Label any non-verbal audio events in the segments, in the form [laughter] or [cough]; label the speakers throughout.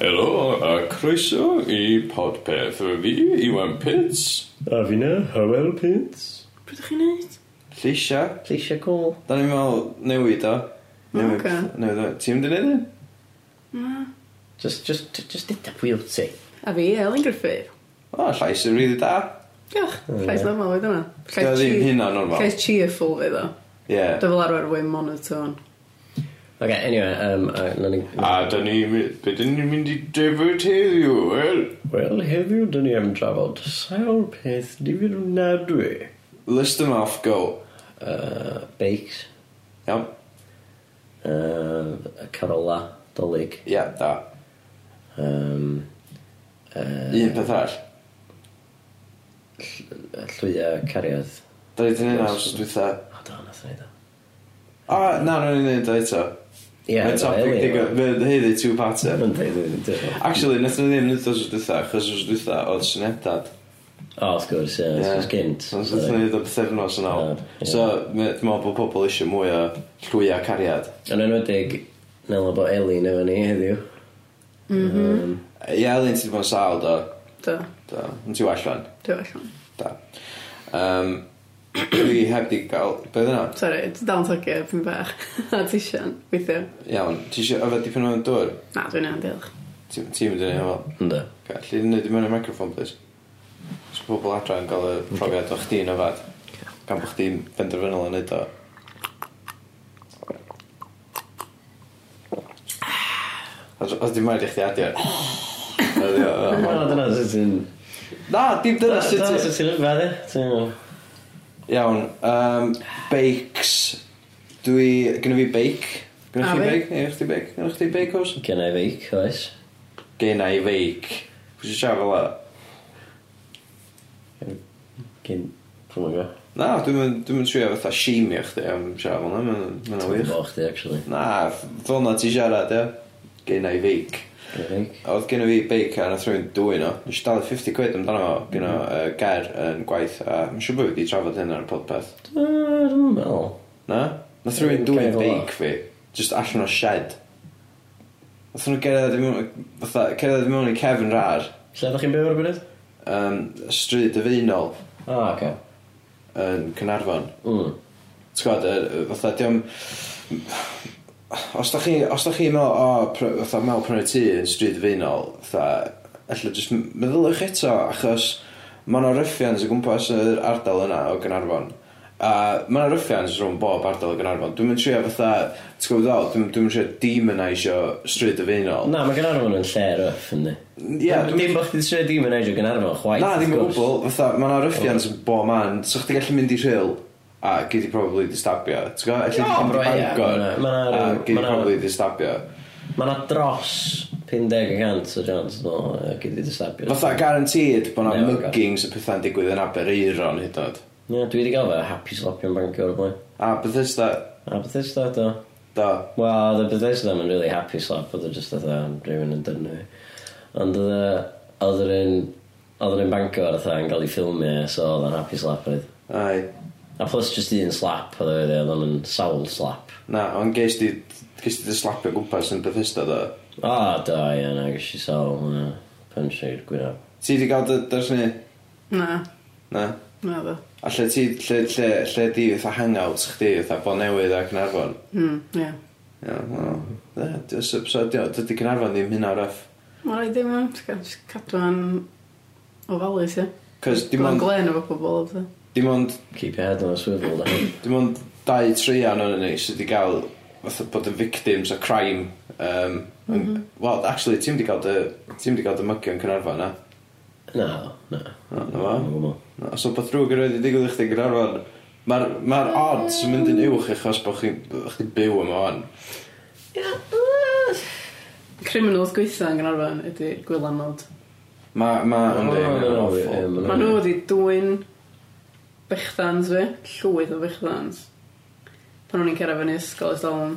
Speaker 1: Helo a croeso i podpeth efo fi, Iwan Pits.
Speaker 2: A fi na, Hywel Pins.
Speaker 3: Beth ydych chi'n neud?
Speaker 4: Lleisia.
Speaker 3: Lleisia gol.
Speaker 4: Da ni'n meddwl newid o. Newid.
Speaker 3: Ocê.
Speaker 4: Newid o. Ti'n mynd i neud un?
Speaker 5: Just, just, just did that wheel ti.
Speaker 3: A fi, Elin Griffith.
Speaker 4: O, llais yn rili da.
Speaker 3: Diolch, llais normal oedd hwnna.
Speaker 4: Dio ddim
Speaker 3: cheer-
Speaker 4: hynna normal.
Speaker 3: Llais cheerful fe ddo.
Speaker 4: Ie.
Speaker 3: Dwi fel arfer wyn monotone.
Speaker 5: Okay, anyway, um, a, na ni...
Speaker 1: A da ni, my- be da ni'n mynd i drefod heddiw, wel?
Speaker 2: Wel, heddiw, dyn ni am drafod sawl peth difyrdadwy.
Speaker 4: List them off, go.
Speaker 5: Uh, bakes,
Speaker 4: Iawn.
Speaker 5: uh, carola, dolyg.
Speaker 4: Ie, da.
Speaker 5: Um, uh,
Speaker 4: Un peth all.
Speaker 5: llwya cariad.
Speaker 4: Da ni di neud naws dwytha.
Speaker 5: O, da, nath ni da.
Speaker 4: O, na, na ni'n neud o eto.
Speaker 5: Ie,
Speaker 4: Mae'n topic digwydd. Mae'n heiddi two parter.
Speaker 5: Mae'n dweud, dwi'n dweud.
Speaker 4: Actually, nath ni ddim neud os dwytha, achos os dwytha oedd synedad.
Speaker 5: O, wrth gwrs, ie,
Speaker 4: Ie.
Speaker 5: wrth gwrs gynt.
Speaker 4: So, nath ni neud o bythefnos yn ôl.
Speaker 5: Ie, ie.
Speaker 4: So, me- dwi'n meddwl bod pobl eisiau mwy o llwy a cariad.
Speaker 5: Yn enwedig, nel o bo Elin efo ni heddiw. Um,
Speaker 4: Ie, Elin, ti wedi bod yn sal, do.
Speaker 3: Do,
Speaker 4: Do. Yn ti wallan.
Speaker 3: dwi allan.
Speaker 4: Da. Um, [clears throat] dwi heb di gael... Be oedd yna?
Speaker 3: Sorry, dwi dal yn togio pyn bach. [laughs] A ti sian, weithio.
Speaker 4: Iawn, ti eisiau yfed dipyn o'n dŵr?
Speaker 3: Na, dwi'n iawn, diolch.
Speaker 4: Ti- Ti'n mynd i ni hefo.
Speaker 5: Ynddo.
Speaker 4: Gallu ni wneud i mewn i'r microphone, please. Os bod pobl adra yn cael y profiad o chdi'n yfed. Gan bod chdi'n benderfynol yn neud o. Os os di'n maid i chdi adio. Adio,
Speaker 5: O,
Speaker 4: o.
Speaker 5: dyna sut ti'n...
Speaker 4: Na, dim dyna
Speaker 5: Dyna
Speaker 4: sut ti...
Speaker 5: sut ti'n yfad, ie? Ti'n-
Speaker 4: Iawn, um, bakes. Dwi, gynnu fi bake. Gynnu
Speaker 3: A
Speaker 4: chi
Speaker 3: fi?
Speaker 4: bake? Ie, chdi bake. Gynnu chdi bake os?
Speaker 5: Gen i feic, oes?
Speaker 4: Gynna i bake. Pwy sy'n siarad fel e?
Speaker 5: Gen... Pwm yn go.
Speaker 4: Na, dwi'n mynd dwi trio fatha shimio chdi am siarad fel e. Mae'n wych.
Speaker 5: Bo chdi, actually.
Speaker 4: Na, f- fel na ti siarad, ie. Gynna i bake.
Speaker 5: Gen i feic.
Speaker 4: Oedd gynnu fi beic a nath rhywun dwy'n o. Nes i dalu 50 quid amdano fo gynnu uh, ger yn gwaith. A mae'n siŵr bod fi wedi trafod hyn ar y podpeth.
Speaker 5: Yy, Dwi'n meddwl.
Speaker 4: Na? Nath rhywun
Speaker 5: Yn
Speaker 4: dwy'n
Speaker 5: gefn o.
Speaker 4: beic fi. Just allan o shed. Nath nhw gerdded i mewn... Fatha, gerdded i mewn i cefn rar.
Speaker 5: Lle ydych chi'n byw ar y bryd?
Speaker 4: Um, stryd y feinol
Speaker 5: O, oce.
Speaker 4: yn Cynarfon.
Speaker 5: Mm.
Speaker 4: T'w gwybod, er, fatha, diom... Os da chi, os da chi meddwl, o, pr- fatha, mewn prynu tŷ yn stryd feinol, fatha, allai jyst m- meddylwch eto, achos mae yna ruffians o gwmpas yr ardal yna o Gynarfon. A mae yna ruffians rhwng bob ardal o Gynarfon. Dwi'n mynd trio fatha, ti'n gwybod ddol, dwi'n dwi'n mynd trio demonisio stryd y feinol.
Speaker 5: Na, mae Gynarfon yn lle rough, yndi.
Speaker 4: Ie,
Speaker 5: Dim- Dim bod chdi'n sred dim yn eidio Gynarfon, chwaith.
Speaker 4: Na, ddim yn
Speaker 5: wrth gwrs.
Speaker 4: gwbl. Fatha, mae yna ruffians yn bo man. So chdi gallu mynd i rhyl a gyd i probably di stabio. T'w gwybod? Alli di
Speaker 5: O,
Speaker 4: mynd
Speaker 5: bro,
Speaker 4: i
Speaker 5: ie,
Speaker 4: Bangor
Speaker 5: Oh, ma' 'na- ma' 'na
Speaker 4: a
Speaker 5: ryw-
Speaker 4: gyd
Speaker 5: ma'
Speaker 4: i
Speaker 5: 'na-
Speaker 4: probably di stabio.
Speaker 5: Mae na dros 50% o Jones yn gyd i disabio.
Speaker 4: Fatha, guaranteed bod yna
Speaker 5: Neu, oce.
Speaker 4: muggings y pethau'n digwydd yn Abereiron hyd yn oed.
Speaker 5: Ie, dwi wedi gael fe happy slapio'n banco o'r blaen.
Speaker 4: A Bethesda,
Speaker 5: A Bethesda, do.
Speaker 4: do.
Speaker 5: Wel, oedd y Bethesda yn really happy slap, oedd o just oedd rhywun yn dynnu fi. Ond oedd y- oedd yr un... Oedd yr un banco ar yn cael ei ffilmio, so oedd o'n happy slap oedd.
Speaker 4: Ai.
Speaker 5: A plus just un slap, oedd o wedi, oedd o'n sawl slap.
Speaker 4: Na, ond geis di... Geis di dy slapio gwmpas yn Bethesda, do.
Speaker 5: O, oh, da, ie, na, gys i sawl hwnna. Punch i'r gwynaf.
Speaker 4: Ti di gael dy dyrsni?
Speaker 3: Na,
Speaker 4: Na.
Speaker 3: na ddo.
Speaker 4: A lle ti... Lle, lle, lle di fatha hangout chdi, fatha bo newydd ac yn arfon?
Speaker 3: Hmm, ie.
Speaker 4: Ie, wel... Na, dy- so- so dy- Dydy Cynarfon ddim hynna rough.
Speaker 3: Mae'n rhaid ddim yn jyst cadw yn ofalus, ie.
Speaker 4: Cos dim
Speaker 3: Mae'n
Speaker 4: ond,
Speaker 3: glen efo pobl, oedd
Speaker 4: dim ond,
Speaker 5: Keep your head on a swivel, da.
Speaker 4: dim ond dau treian o'n ni sydd wedi cael fatha bod yn victims o crime. Um, mm -hmm. Wel, actually, ti'n wedi cael dy, ti'n wedi cael dy mygio yn Cynarfon, na?
Speaker 5: Na, na.
Speaker 4: Na, na fo.
Speaker 5: Dwi'n gwbod.
Speaker 4: Na, Os o beth rhywg yr oedd i digwydd i chdi yn Cynarfon, mae'r ma odds yn mynd yn uwch achos bod chi, chdi byw yma o'n.
Speaker 3: Criminals gweitha yn Gynarfon ydy Gwylanod.
Speaker 4: Mae, mae,
Speaker 5: Ond
Speaker 4: yndi,
Speaker 5: ie,
Speaker 4: mae'n
Speaker 5: mae'n
Speaker 4: awful.
Speaker 5: awful.
Speaker 3: Mae nhw wedi dwy'n bechdans fi, llwyth o bechdans. Pan o'n i'n cerdded fyny ysgol, ys o'n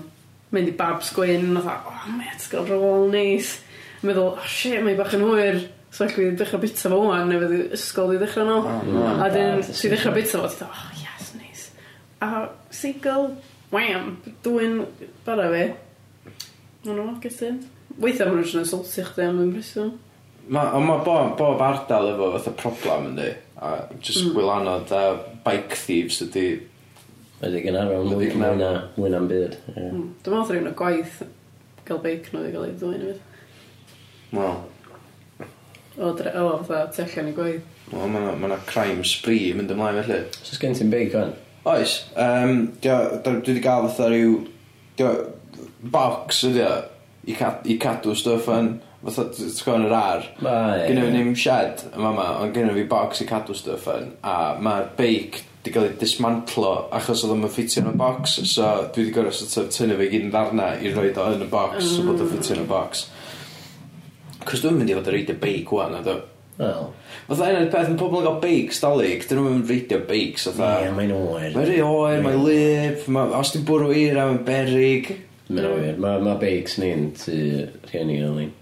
Speaker 3: mynd i babs gwyn, a dda, oh, mae ysgol rôl neis. Yn meddwl, oh shit, mae bach yn hwyr. So ac fi ddechrau bita fo wan, neu fydd ysgol di ddechrau nôl.
Speaker 4: na,
Speaker 3: a dyn,
Speaker 5: bad
Speaker 3: si ddechrau bita fo, ti dda, oh yes, neis. A seigl, wham, dwy'n bara fi. Mae'n nhw, gysyn. Weithiau maen nhw jyst yn assaultio chdi am ddim rheswm.
Speaker 4: Ma, ond mae bob, bob ardal efo fatha problem yndi. A just mm. gwylanod a bike thieves ydi...
Speaker 5: Ydy gen ar o'n
Speaker 4: Ydi,
Speaker 5: mwy
Speaker 4: na-
Speaker 5: mwy na mwy na'n byd. ie.
Speaker 3: Mm. Dwi'n meddwl rhywun o gwaith gael beic nhw i gael ei ddwy'n efo.
Speaker 4: Wel,
Speaker 3: O, dre- o, fatha, tu allan i gwaith.
Speaker 4: well, mae yna ma crime spree yn mynd ymlaen felly.
Speaker 5: So sgen ti'n big fan?
Speaker 4: Oes, um, dwi wedi gael fatha rhyw... Dio, box ydi o, i, cad, i cadw stuff yn... Fatha, t- ti'n gwybod yn yr ar.
Speaker 5: Ma, Ah, ie.
Speaker 4: Gynnu fi ddim shed yma yma, ond gynnu fi box i cadw stuff yn, a mae'r beic di gael ei dismantlo achos oedd yma'n ffitio yn y box, so dwi wedi gorau sort of tynnu fe i gyd yn ddarna i roi o yn y box, so bod o'n ffitio yn y box. Cos dwi'n mynd i fod yn reidio beic wan, a dwi.
Speaker 5: Wel,
Speaker 4: Fytha un o'r peth, mae pobl yn cael beics dalig, dyn nhw'n reidio beics, oedd
Speaker 5: ie, mae'n oer.
Speaker 4: Mae'n rhy oer, mae'n lip, ma, os ti'n bwrw i'r am berig.
Speaker 5: Mae'n oer. Mae ma bakes ni'n tu rhieni Elin.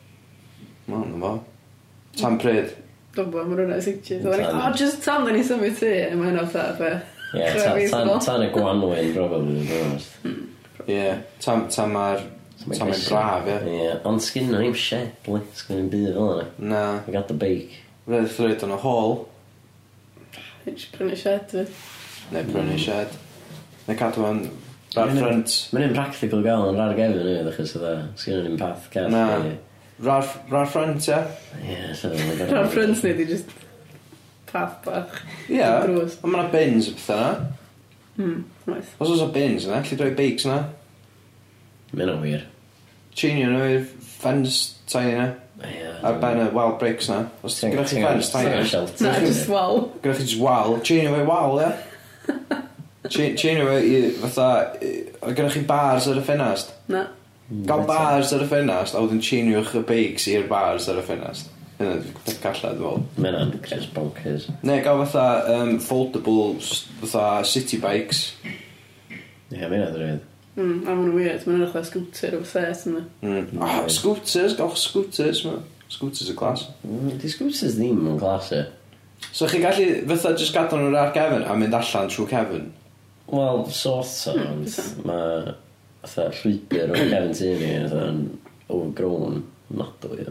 Speaker 4: Wel, na fo. Tan pryd.
Speaker 3: Dwi'n bod, mae rhywun o'r sigtio. Dwi'n
Speaker 5: Tan.
Speaker 3: meddwl, o, just tan dyn ni symud ti. A mae hynna fatha,
Speaker 5: Ie,
Speaker 3: fe.
Speaker 5: ta- tan- tan y gwanwyn, probably, dwi'n honest.
Speaker 4: Ie. Yeah. Tan tan ma'r... Tan mae'n braf, ie.
Speaker 5: Ie, ond sgyn nhw ddim shed, li. Sgyn nhw'n byd fel yna.
Speaker 4: Na.
Speaker 5: Mae gada beic.
Speaker 4: Roedd y thread yn y hall.
Speaker 3: Dwi'n prynu shed, fe.
Speaker 4: Neu
Speaker 5: Mm.
Speaker 4: prynu shed. Neu cadw yn rar ffrant.
Speaker 5: Mae'n un practical gael yn rar gefn nhw, ddechos oedd e. Sgyn nhw'n path cath.
Speaker 4: Na.
Speaker 5: i-
Speaker 4: Rar rar ffrant, ie.
Speaker 5: Ie, so... ma' gorfod-
Speaker 3: Rha'n ffrind ni, di just path bach.
Speaker 4: Ie.
Speaker 3: Drws.
Speaker 4: Ond mae'na bins y pethau yna.
Speaker 3: Hmm, nice.
Speaker 4: Os oes o bins yna, lle droi beics yna.
Speaker 5: Mae'n o wir.
Speaker 4: Chainio nhw i'r ffens tiny yna.
Speaker 5: Ie.
Speaker 4: Ar ben y wal bricks yna. Os ti'n gyda chi ffens tiny yna.
Speaker 3: Na, just wal.
Speaker 4: Gwneud chi jyst wal, chainio fe wal, ie? [laughs] Cha- Chainio fe i, fatha, i- o' gennych chi bars ar y ffenast.
Speaker 3: Na.
Speaker 4: Gael bars ar y ffenast, a wedyn chainio'ch y beics i'r bars ar y ffenast. Hynna, dwi'n callad, dwi'n fel.
Speaker 5: Mae'n an, just bonkers.
Speaker 4: Ne, gael fatha um, foldable, s- fatha city bikes.
Speaker 5: Ie, mae'n adrwydd.
Speaker 3: Hmm, a maen nhw'n weird. Maen nhw'n rhaid scooter o'r set yna.
Speaker 4: Mm. Oh, scooters, gael scooters, ma. Scooters y glas.
Speaker 5: Di scooters Mm, ddim yn glas e.
Speaker 4: So chi'n gallu, fatha, just gadael nhw'r ar gefn a mynd allan trwy cefn.
Speaker 5: Wel, sort of, ond mae fatha llwybr o'r cefn tu ni fatha'n overgrown nodwy.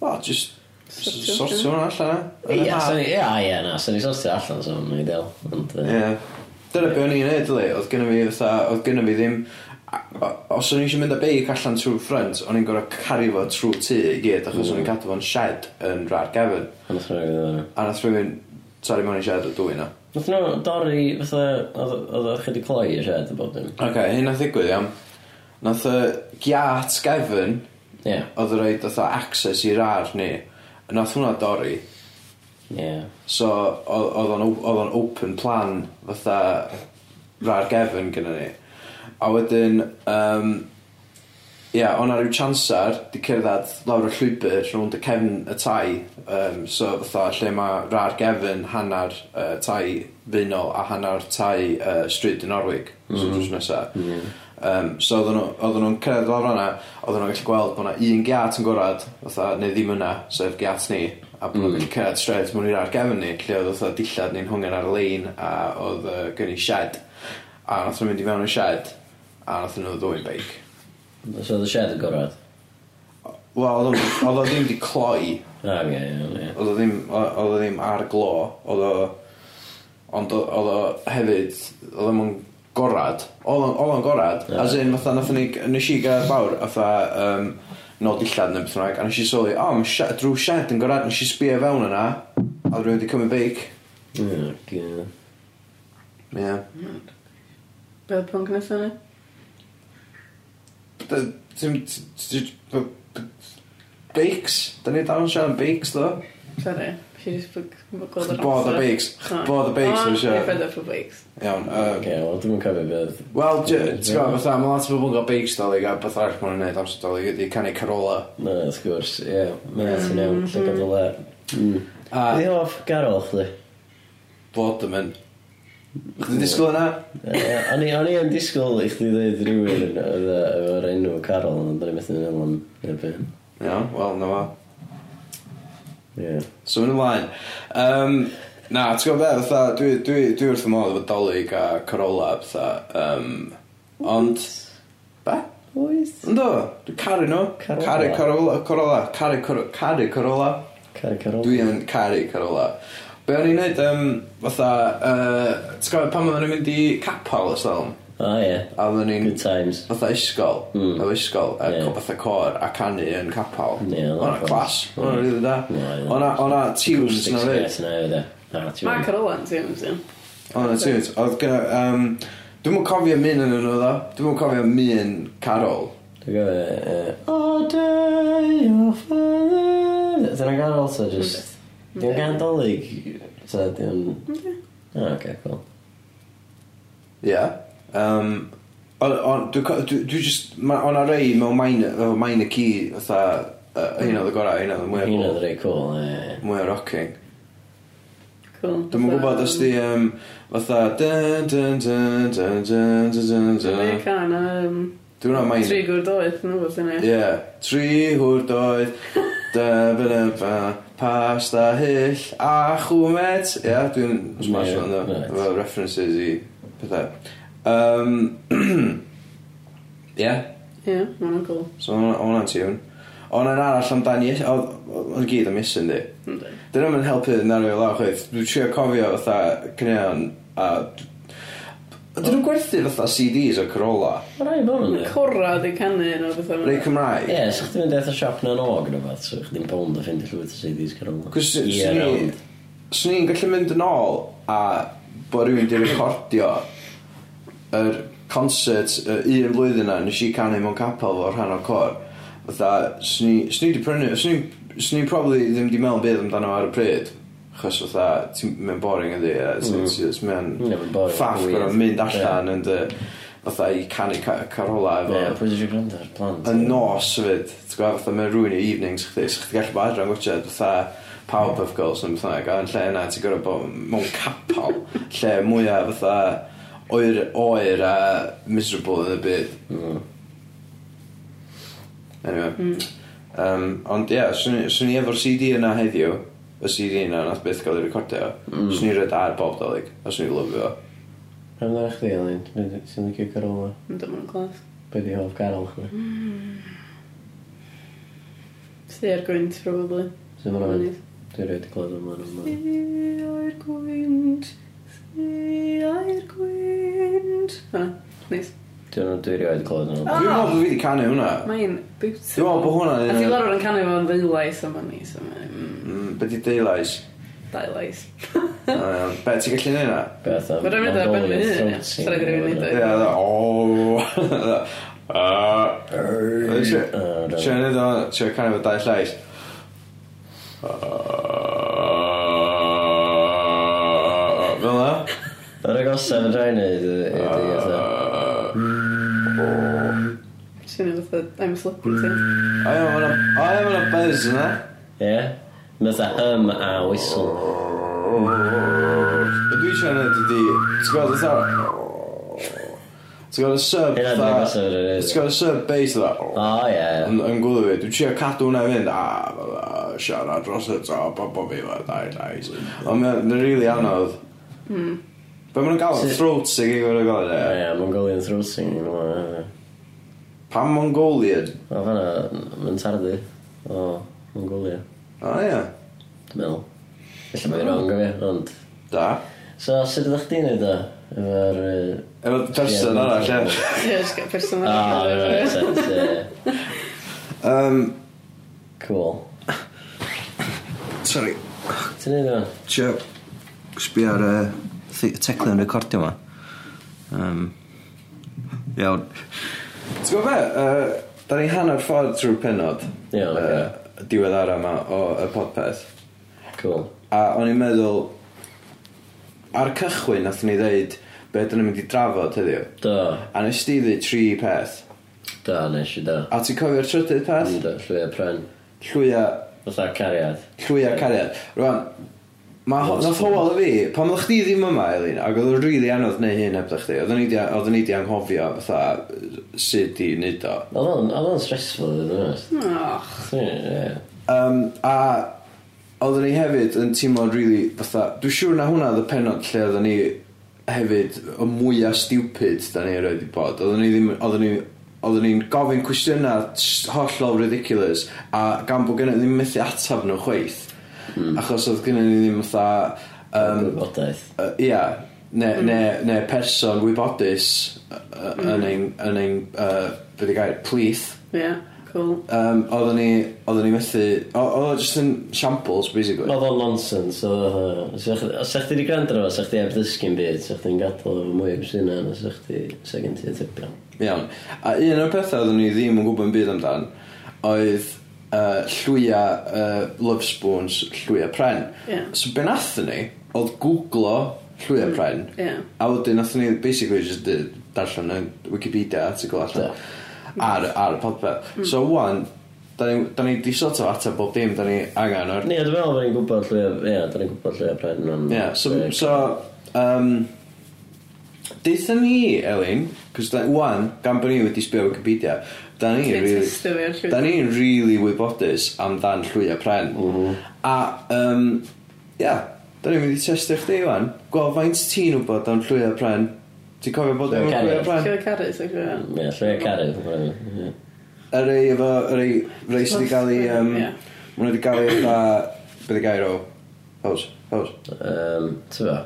Speaker 4: O, just
Speaker 3: Sortio,
Speaker 4: s- sortio hwnna allan, e?
Speaker 5: Ie, so ni- ie, ie, na, so ni sortio allan so yn ideal. Ond,
Speaker 4: Ie.
Speaker 5: yy,
Speaker 4: Dyna be o'n i'n neud, dwi. Oedd gynnu fi fatha, oedd gynnu fi ddim... a- Os o'n i eisiau mynd â beic allan trwy ffrant, o'n i'n gorau caru fo trwy tŷ i gyd, achos o'n i'n cadw fo'n shed yn rhar gefn.
Speaker 5: ond nath nhw fydd yna.
Speaker 4: A nath rhywun, sori mewn i shed o dwy na.
Speaker 5: Nath nhw dorri, fatha, oedd- oedd o'ch wedi cloi y shed y bod yn.
Speaker 4: Ok, hyn nath ddigwydd iawn. Nath y giat gefn,
Speaker 5: Ie,
Speaker 4: oedd yr oed fatha access i'r ar ni, nath hwnna dorri.
Speaker 5: ie.
Speaker 4: So, o- oedd o'n o- oedd o'n open plan fatha rar gefn gyda ni. A wedyn, um, ia, yeah, o'na rhyw chansar di cerdded lawr y llwybr rhwng y cefn y tai. Um, so, fatha, lle mae rar gefn hanner uh, tai funol a hanner tai uh, stryd yn Norwig. Mm -hmm. So, drws nesaf. Um, so oedden nhw- oedden nhw'n cerdded lawr fanna, oedden nhw'n gallu gweld bod yna un giat yn gorad, fatha, neu ddim yna, sef giat ni, a bod nhw'n gallu cerdded straight mwyn i'r argefn ni, lle oedd fatha dillad ni'n hwngen ar y lein, a oedd uh, gen i shed, a nath nhw'n mynd i fewn y shed, a nath nhw ddwy'n beic.
Speaker 5: So oedd y shed yn gorad.
Speaker 4: Wel, oedd o- oedd o ddim di cloi,
Speaker 5: A, ie, ie, ie.
Speaker 4: oedd o ddim, o- oedd o ddim ar glo, oedd o, ond o- oedd o hefyd, oedd o'n gorad, oedd o'n- oedd o'n gorad,
Speaker 5: Ie.
Speaker 4: as in, fatha, nath ni, nes i gael fawr, fatha, um, nod illad neu beth bynnag, a nes i sylwi, o, oh, shed, drwy shed yn gorad, nes i sbio fewn yna, a oedd rhywun wedi cymryd beic.
Speaker 5: Ie, ie.
Speaker 4: Ie. Yeah.
Speaker 3: Be oedd pwnc nesaf yna?
Speaker 4: Ti'n, ti- ti- b- b- beics, da ni dal yn siarad am beics, do?
Speaker 3: Sorry. She just bod gweld yr
Speaker 4: Bod o beics, bod o beics, dwi'n
Speaker 3: Dwi'n
Speaker 4: siarad.
Speaker 3: fed up o beics.
Speaker 4: Iawn, yy,
Speaker 5: Ie, wel, dwi'n cofio beth.
Speaker 4: Wel, j- ti'n gwybod, fatha, mae lot o bobl yn cael beics dolyg a beth arall maen nhw'n gwneud amser dolyg ydy canu Carola.
Speaker 5: Na, wrth gwrs, ie. Mae'n ti'n iawn, lle gadw le. Mm.
Speaker 4: A
Speaker 5: Ydy hoff garol, chdi?
Speaker 4: Vorderman. Chdi'n disgwyl yna?
Speaker 5: Yy, O'n i o'n i yn disgwyl i chdi ddweud rhywun oedd yy, efo'r enw Carol, ond dyn ni'n methu'n meddwl am erbyn.
Speaker 4: Iawn, wel, na fo.
Speaker 5: Ie.
Speaker 4: So, mynd ymlaen. Um, na, ti'n gwybod beth, fatha, dwi, dwi, dwi wrth y modd efo dolyg a Carola, fatha. Um, ond, be?
Speaker 5: Oes.
Speaker 4: Ynddo, dwi'n caru nhw.
Speaker 5: Carola.
Speaker 4: Caru Corolla. Corolla. Caru Cor- Caru Corolla.
Speaker 5: Cari Carol.
Speaker 4: Dwi yn caru Corolla. Be o'n i'n neud, um, fatha, uh, ti'n gwybod pan oedden ni'n mynd i capal ys ddol?
Speaker 5: O ie.
Speaker 4: A oedden ni'n
Speaker 5: Good times.
Speaker 4: fatha ysgol,
Speaker 5: Mm.
Speaker 4: o ysgol, a
Speaker 5: Ie.
Speaker 4: yeah. fatha cor a canu yn capal.
Speaker 5: Ie, oedd o'n
Speaker 4: O'na
Speaker 5: class.
Speaker 4: clas, o'na rili da.
Speaker 5: Ie.
Speaker 4: O'na o'na tunes
Speaker 5: Six
Speaker 4: na
Speaker 5: years
Speaker 4: fi.
Speaker 5: yna oedd e. Na, ti'n
Speaker 3: Mae
Speaker 5: mynd.
Speaker 3: Carola'n teimlo, ti'n.
Speaker 4: O'na tunes. Oedd gyda, um, dwi'n mwyn cofio min yn nhw ddo. Dwi'n mwyn cofio min Carol.
Speaker 5: Dwi'n gofio... O day of father... Dyna Carol, so just... Dwi'n gan dolyg. So dwi'n... O, oce, cool.
Speaker 4: Ie. Yeah. Um, on- on- dwi co- dwi dwi just, ma- o'na rei mewn minor, efo minor key, fatha, uh, hyn oedd y gorau, hyn oedd y mwyaf
Speaker 5: Un
Speaker 4: cool.
Speaker 5: oedd rei cool, ie.
Speaker 4: Mwyaf rocking.
Speaker 3: Cool.
Speaker 4: Dwi'n mwyn gwybod os di, um, fatha, dun, dun, dun, dun, dun, dun, dun,
Speaker 3: Dwi'n
Speaker 4: dun.
Speaker 3: can, um,
Speaker 4: Dwi'n o'n
Speaker 3: tri
Speaker 4: minor.
Speaker 3: gwrdd oed, nhw beth yna.
Speaker 4: Ie. Tri
Speaker 3: [laughs]
Speaker 4: hwrdoedd, da, ba, da, ba, pasta hyll, a chwmet. Ie, dwi'n smash
Speaker 5: Ie,
Speaker 4: o'n dda,
Speaker 5: right.
Speaker 4: efo references i pethau. Um, [clears throat] Ie,
Speaker 3: Ie, mae'n cool.
Speaker 4: So hwnna- hwnna'n tiwn. Ond yn arall amdani, oedd oedd- oedd gyd am ysyn di.
Speaker 3: Yndi.
Speaker 4: Dyn nhw'n helpu yn arwyl law chweith. Dwi'n trio cofio fatha cneon a... Dyn nhw'n gwerthu fatha CDs o Corolla.
Speaker 5: Mae'n rhaid bod yn
Speaker 3: Mae
Speaker 5: dweud.
Speaker 3: Cora di canu yn o beth
Speaker 4: Rei
Speaker 3: yna.
Speaker 4: Cymraeg.
Speaker 5: Ie, sa'ch ti'n mynd eith o siop na'n og yn o beth, so chdi'n bond a ffindio llwyth o CDs Carol.
Speaker 4: Cos swn i- swn i'n gallu mynd yn ôl a bod rhywun di recordio yr concert y un flwyddyn na nes i canu mewn capel o rhan o'r cor. Fatha, swn i swn i di prynu, swn i- swn i'n probably ddim di meddwl beth amdano ar y pryd. Achos fatha, ti'n mynd boring ydi, a ti'n- ti'n
Speaker 5: Ie, mae'n Mm. boring,
Speaker 4: mynd ffaff
Speaker 5: weird.
Speaker 4: gwrdd mynd
Speaker 5: Ie.
Speaker 4: allan yn dy, fatha i canu ca- carola efo
Speaker 5: Ie, pwy dwi'n gwrando ar plant.
Speaker 4: yn nos fyd, ti'n gwybod, fatha mae'n rwy'n i evenings chdi, so chdi gallu bod adran gwachod, fatha Powerpuff Girls yn bythag, a yn lle yna, ti'n gwybod bod mewn capal, lle mwyaf fatha oer, oer a miserable yn y byd.
Speaker 5: Mm.
Speaker 4: Anyway. Um, ond ie, yeah, swn i efo'r CD yna heddiw, y CD yna nath byth gael ei recordio, mm. swn i rhaid ar bob dolyg, a swn i'n lyfio.
Speaker 5: Rhaid yn chdi, Elin, Be- ti'n licio Carol?
Speaker 3: Yndi, mae'n clas.
Speaker 5: Be di hoff Carol chwi?
Speaker 3: Stay ar gwynt, probably.
Speaker 5: Sy'n mynd o'n Dwi'n rhaid i glod am hwnnw.
Speaker 3: A'r gwynt, a'r gwynt. Ha, neis.
Speaker 5: Dwi'n dwi'n rhaid i glod am hwnnw.
Speaker 4: Dwi'n meddwl bod fi wedi canu hwnna.
Speaker 3: Mae'n
Speaker 4: Dwi'n
Speaker 3: beautiful.
Speaker 4: meddwl bod hwnna...
Speaker 3: A
Speaker 4: yn-
Speaker 3: ti'n gorfod yn canu fo'n ddylais yma ni, so mae'n
Speaker 4: Mm, Be di daylights?
Speaker 3: dau
Speaker 4: [laughs]
Speaker 3: lais.
Speaker 4: Um, be, ti'n gallu neud hwnna?
Speaker 5: Beth am...
Speaker 3: Mae'n rhaid i'n bennu hyn, ie.
Speaker 5: Mongolian
Speaker 3: Sa'n rhaid i'n
Speaker 5: throat
Speaker 3: gwneud
Speaker 4: Ie,
Speaker 3: e.
Speaker 4: dda, o. Ti'n
Speaker 5: Oh, no.
Speaker 4: neud o, ti'n canu fo dau llais. Fel na?
Speaker 5: Yr agosaf yn rhaid neud ydy eitha.
Speaker 3: Ti'n ei fatha, I'm slipping
Speaker 4: O
Speaker 3: to.
Speaker 4: ie, ma' 'na- o ie, ma' 'na buzz yna.
Speaker 5: Ie? Mytha hym a whistle.
Speaker 4: Be dwi isio neud ydi, ti'n gweld fatha... Ti'n gweld y sub
Speaker 5: Hynna dwi'n
Speaker 4: fatha...
Speaker 5: agosaf yn rhaid.
Speaker 4: Ti'n gweld y sub bass fatha...
Speaker 5: O ie.
Speaker 4: Yn yn gwylio fi, dwi'n trio cadw hwnna i fynd A, fel, a, siarad dros y to Bobo fi, fel, dau lais Ond mae'n rili anodd Be maen nhw'n gael?
Speaker 5: Sut-
Speaker 4: Throat singing Fe'n nhw'n gael e?
Speaker 5: Ie, Mongolian throat singing. ie.
Speaker 4: Pam Mongolian?
Speaker 5: O fanna, mae'n tardu. O, Mongolia.
Speaker 4: O ie,
Speaker 5: Dwi'n meddwl. Felly mae'n rong o fi, ond...
Speaker 4: da
Speaker 5: So, sut ydych chdi'n neud o? Efo'r... yy,
Speaker 4: Efo person arall e
Speaker 3: Ie, jyst gael person
Speaker 5: O,
Speaker 4: Ah,
Speaker 5: mae'n rhaid
Speaker 3: arall.
Speaker 5: sense, ie.
Speaker 4: um,
Speaker 5: Cool.
Speaker 4: Sorry,
Speaker 5: Ti'n neud o'n?
Speaker 4: tio Sbi ar y thi- teclyn recordio ma um, Iawn Ti'n gwybod be? Yy, Da ni hanner ffordd trwy'r penod
Speaker 5: Ie, oce.
Speaker 4: Yy, Diwedd ara ma o y podpeth
Speaker 5: Cool.
Speaker 4: A o'n i'n meddwl Ar y cychwyn nath ni ddeud Be dyn ni'n mynd i drafod heddiw
Speaker 5: Do,
Speaker 4: A nes ti ddeud tri peth
Speaker 5: do, nes i do.
Speaker 4: A ti'n cofio'r trydydd peth?
Speaker 5: Ond llwy a pren.
Speaker 4: Llwya,
Speaker 5: Fytha cariad.
Speaker 4: llwya cariad Rwan Ma, nath hoel y fi, pan oeddech chdi ddim yma, Elin, ac oedd o'n rili anodd neu hyn hebdych chdi, oedden ni 'di- oedden ni di anghofio fatha yy, sut i wneud o.
Speaker 5: Oedd o'n oedd o'n stressful, ydyn nhw.
Speaker 3: Och,
Speaker 4: Um, a oedden ni hefyd yn teimlo'n rili fatha... Dwi'n siŵr na hwnna oedd y penod lle oedden ni hefyd y mwyaf stupid da ni erioed i bod. Oedden ni ddim... Oedden ni... oedden ni'n gofyn cwestiynau s- hollol ridiculous a gan bod gennyn ni ddim methu atab nhw chweith mm. achos oedd gennyn ni ddim fatha yym,
Speaker 5: Gwybodaeth.
Speaker 4: Yy, Ia, neu, neu, neu person wybodus yy, yy, yn ein, yn ein uh, beth i gair, plith.
Speaker 3: Yeah, cool.
Speaker 4: Um, oedden ni, oedden ni methu, o- oedd o just yn shambles, basically.
Speaker 5: Oedd o'n nonsens, oedd o... Sa'ch ti wedi gwrando fo, sa'ch ti heb ddysgu'n byd, sa'ch ti'n gadael efo mwy o gwsina, na sa'ch ti second tier tipio.
Speaker 4: Iawn. A un o'r pethau oedden ni ddim yn gwybod yn byd amdan, oedd uh, llwya uh, love spoons, llwya pren.
Speaker 3: Ie. Hmm.
Speaker 4: So be nathon ni, oedd googlo llwya pren.
Speaker 3: Ie.
Speaker 4: A wedyn nathon ni basically just did- darllen yn Wikipedia article allan
Speaker 3: Hmm.
Speaker 4: ar, ar y podpeth. So wan, da ni, da ni di sort of ateb bob dim, da ni angen o'r...
Speaker 5: Ie, dwi'n meddwl bod ni'n gwybod lle, ie, dwi'n gwybod lle a pren o'n...
Speaker 4: Yeah, so, so um, deitha ni, Elin, cos da, wan, gan bod ni wedi sbio Wikipedia, da ni
Speaker 3: Ti'n
Speaker 4: really,
Speaker 3: testo fi ar llwyth.
Speaker 4: da ni'n really wybodus amdan llwyau pren. A, um, yeah, da ni'n mynd i testio chdi, wan. Gweld faint ti'n wybod am llwyau pren. Ti'n cofio bod am
Speaker 5: Llwyau
Speaker 4: llwyau
Speaker 5: carrot.
Speaker 4: pren?
Speaker 3: Lle carys, ac yn
Speaker 5: Ie, lle a carydd, ie.
Speaker 4: Y rei efo, y rei, rei sydd wedi cael ei, um,
Speaker 3: Ie.
Speaker 4: maen nhw wedi cael ei, fatha, beth i gair o, hos, hos.
Speaker 5: Yym, ti'n fo?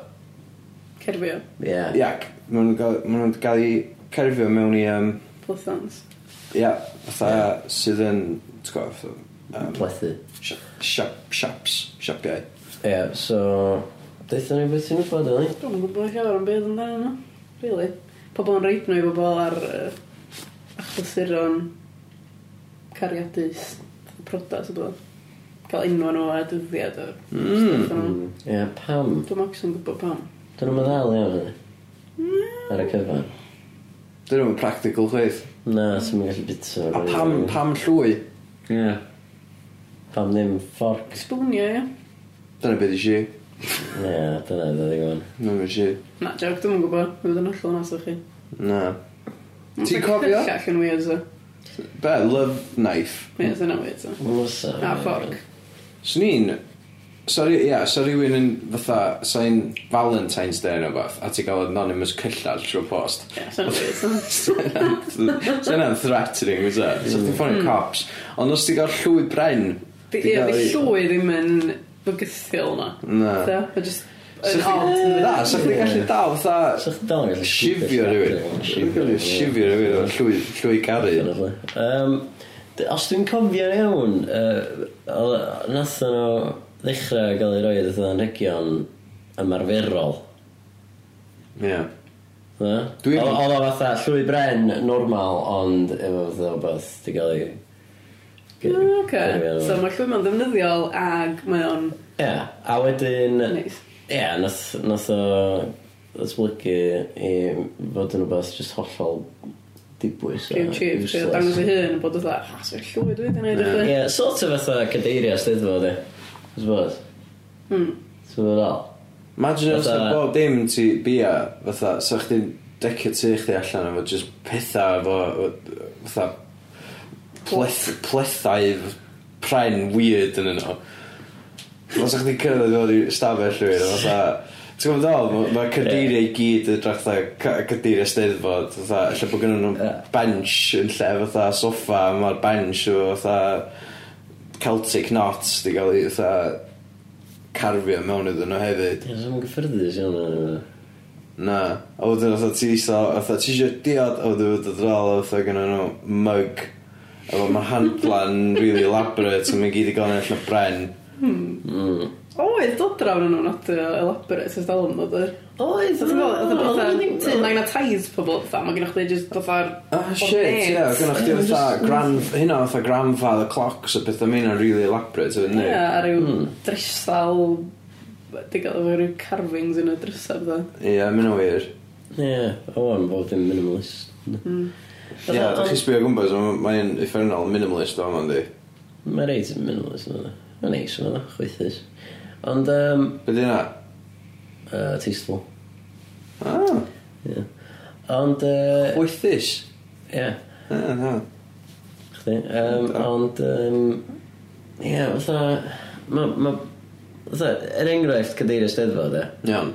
Speaker 3: Cerbio.
Speaker 5: Ie.
Speaker 4: Iac, maen nhw'n gael- maen nhw'n cael eu cerfio mewn i, um,
Speaker 3: Plythans.
Speaker 4: ia, fatha sydd yn, ti'n gwybod, um,
Speaker 5: Plethu.
Speaker 4: siap, siaps, siapiau.
Speaker 5: Ie, so... Deitha ni beth ti'n wybod, Eli?
Speaker 3: Dwi'n yn gwybod llawer am byd amdano nhw. Really. Pobl yn reid nhw i bobl ar uh, achlysuron cariadus, prodas o bod. Cael enw nhw a dyddiad o. Mm.
Speaker 5: Ie, pam?
Speaker 3: Dwi'n macs yn gwybod pam.
Speaker 5: Dyn nhw'n meddwl iawn, Eli? Ar y cyfan.
Speaker 4: Dyn nhw'n practical chweith.
Speaker 5: Na, ti'n mynd gallu bita.
Speaker 4: A pam, pam llwy?
Speaker 5: Ie. Pam ddim fforc.
Speaker 3: Sbwnio, ie.
Speaker 4: Dyna beth i si,
Speaker 5: Ie, dyna ddod i gwan.
Speaker 4: dyna beth i si.
Speaker 3: Na, joc, dwi'n gwybod. Dwi'n dod yn allan nas o chi.
Speaker 4: Na. Ti'n cofio?
Speaker 3: Call yn weird, so.
Speaker 4: Be, love knife.
Speaker 3: Ie, dyna weird, so.
Speaker 5: Mwsa.
Speaker 3: A fforc.
Speaker 4: So ni'n, sori, ia, so rhywun yn fatha, sa'n Valentine's Day neu beth, a ti'n gael anonymous cyllall trwy post.
Speaker 3: Ie,
Speaker 4: [laughs]
Speaker 3: dyna weird, so.
Speaker 4: So yna'n threatening, wyt ti? So ti'n ffonio cops. Ond os ti'n gael llwy bren...
Speaker 3: Di-
Speaker 4: ti'n
Speaker 3: Hmm. Ie,
Speaker 4: gael
Speaker 3: di
Speaker 4: ei-
Speaker 3: llwy ddim yn bygythiol na.
Speaker 4: Na.
Speaker 3: So, a just...
Speaker 4: So
Speaker 3: Yn
Speaker 4: chdi-
Speaker 3: odd.
Speaker 4: Na,
Speaker 3: dydi?
Speaker 4: so chdi'n gallu dal fatha
Speaker 5: So chdi dal yn gallu
Speaker 4: shifio
Speaker 5: swper
Speaker 4: rhywun.
Speaker 5: snapio,
Speaker 4: Chdi'n gallu
Speaker 5: ie.
Speaker 4: shifio rhywun o'r llwy, llwy garu.
Speaker 5: Definitely. Yym, d- os dwi'n cofio'n iawn, uh, nath nhw ddechrau gael ei roed yn region ymarferol.
Speaker 4: Ie.
Speaker 5: Na?
Speaker 4: Dwi'n-
Speaker 5: Oedd oedd o fatha llwy bren normal, ond efo fatha o beth di gael ei...
Speaker 3: Oce, so mae llwy ma'n ddefnyddiol ag mae o'n
Speaker 5: Ie, a wedyn...
Speaker 3: neis.
Speaker 5: Ie, nath, nath o ddatblygu i fod yn rhywbeth jyst hollol dibwys. a
Speaker 3: Rhyw chief, so
Speaker 5: useless.
Speaker 3: dangos i hyn yn bod oedd a, ah, sy'n llwy dwi wedi gwneud eich
Speaker 5: Ie, sort of fatha cadeiria steddfod e. Dwi'n bod.
Speaker 3: Hmm.
Speaker 5: Dwi'n bod al.
Speaker 4: Imagine os
Speaker 5: Fatha-
Speaker 4: ti'n bob dim ti bia, fatha, so chdi'n decio tu chdi allan efo just pethau efo, fatha, pleth, plethau pren weird yn yno. Os ydych chi'n cyrraedd i fod i stafell rhywun,
Speaker 5: [laughs]
Speaker 4: a fatha... Ti'n gwybod ddol, mae ma cadeiriau i gyd yn drach fatha cadeiriau steddfod, fatha, lle bod gennyn nhw
Speaker 5: Ie.
Speaker 4: bench yn lle fatha soffa, a mae'r bench o fatha Celtic knots di gael ei fatha carfio mewn iddyn nhw hefyd.
Speaker 5: Ie, dwi'n gyffyrddus iawn yn yma.
Speaker 4: Na. A wedyn fatha ti eisiau, fatha ti eisiau diod, a wedyn fatha drol, a fatha gennyn nhw mug, efo mae handlan really elaborate, a mae gyd i gael yn allan o bren.
Speaker 3: O, oedd dod drawn yn nhw'n adeg elaborate ys dal yn dod yr.
Speaker 5: Oedd,
Speaker 3: So ti'n gweld, oedd y pethau yn magnetise pobl, fatha, mae gennych chi just fatha'r...
Speaker 4: Ah, shit, ie, gynna chdi fatha gran, hynna fatha grandfather clocks a beth am hynna'n really elaborate, ydyn
Speaker 3: Ie,
Speaker 4: ni?
Speaker 5: Hmm.
Speaker 3: a ryw dresal... Di gael efo ryw carvings yn y dresal, fatha.
Speaker 4: Ie, mynd o wir.
Speaker 5: Ie, o o'n bod yn minimalist.
Speaker 4: Ie, da chi sbio gwmpas, ond mae'n effernol minimalist o ma'n di.
Speaker 5: Mae reit yn minimalist yn yna. Mae'n neis yn yna, chwythus. Ond, um,
Speaker 4: Be di hynna?
Speaker 5: uh, tasteful.
Speaker 4: Ah,
Speaker 5: Ie. Ond, yy,
Speaker 4: with this.
Speaker 5: ie,
Speaker 4: Ah, na.
Speaker 5: chdi. Um, ond, um, ie, fatha, ma, ma, fatha, er enghraifft cadeiriau steddfod, e.
Speaker 4: Iawn.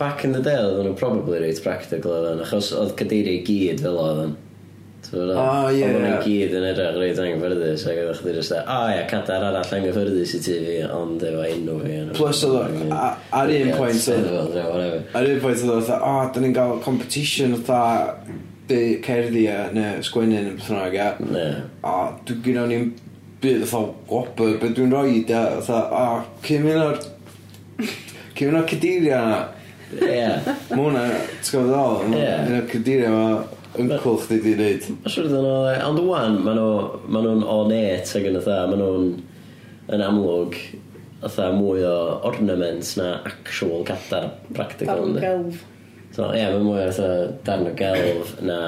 Speaker 5: Back in the day, oedden nhw probably reit practical oedden, achos oedd cadeiriau i gyd fel oedden. Ti'n fawr?
Speaker 4: O, ie,
Speaker 5: Ond o'n
Speaker 4: ie.
Speaker 5: i gyd yn edrych reit anghyffyrddus ac oeddech chdi jyst a, o ia, cadar arall anghyffyrddus i ti fi, ond efo enw fi. yn-
Speaker 4: Plus oedd o- a- ar un
Speaker 5: Ie,
Speaker 4: pwynt oedd-
Speaker 5: Steddfod, ie, whatever.
Speaker 4: Ar un pwynt oedd o, o, da ni'n gael competition oedd be cerddi a neu sgwennu neu beth bynnag ia.
Speaker 5: Ne.
Speaker 4: A dwi'n gyda ni'n byd oedd wobr, be dwi'n rhoi da, oedd o, cyn mynd o'r... Cyn mynd o'r cadeiria yna.
Speaker 5: Ie.
Speaker 4: Mae hwnna, ti'n gwybod ddol?
Speaker 5: Ie.
Speaker 4: Yn o'r cadeiria yma, yncwl chdi di wneud.
Speaker 5: Mae'n siŵr ydyn nhw, e, ond wwan, maen nhw- maen nhw'n ornate ac yn y dda, maen nhw'n yn amlwg fatha mwy o ornaments na actual cadar practical.
Speaker 3: Darn
Speaker 5: yndi?
Speaker 3: gelf.
Speaker 5: So, ie, mae'n mwy fatha darn o gelf na...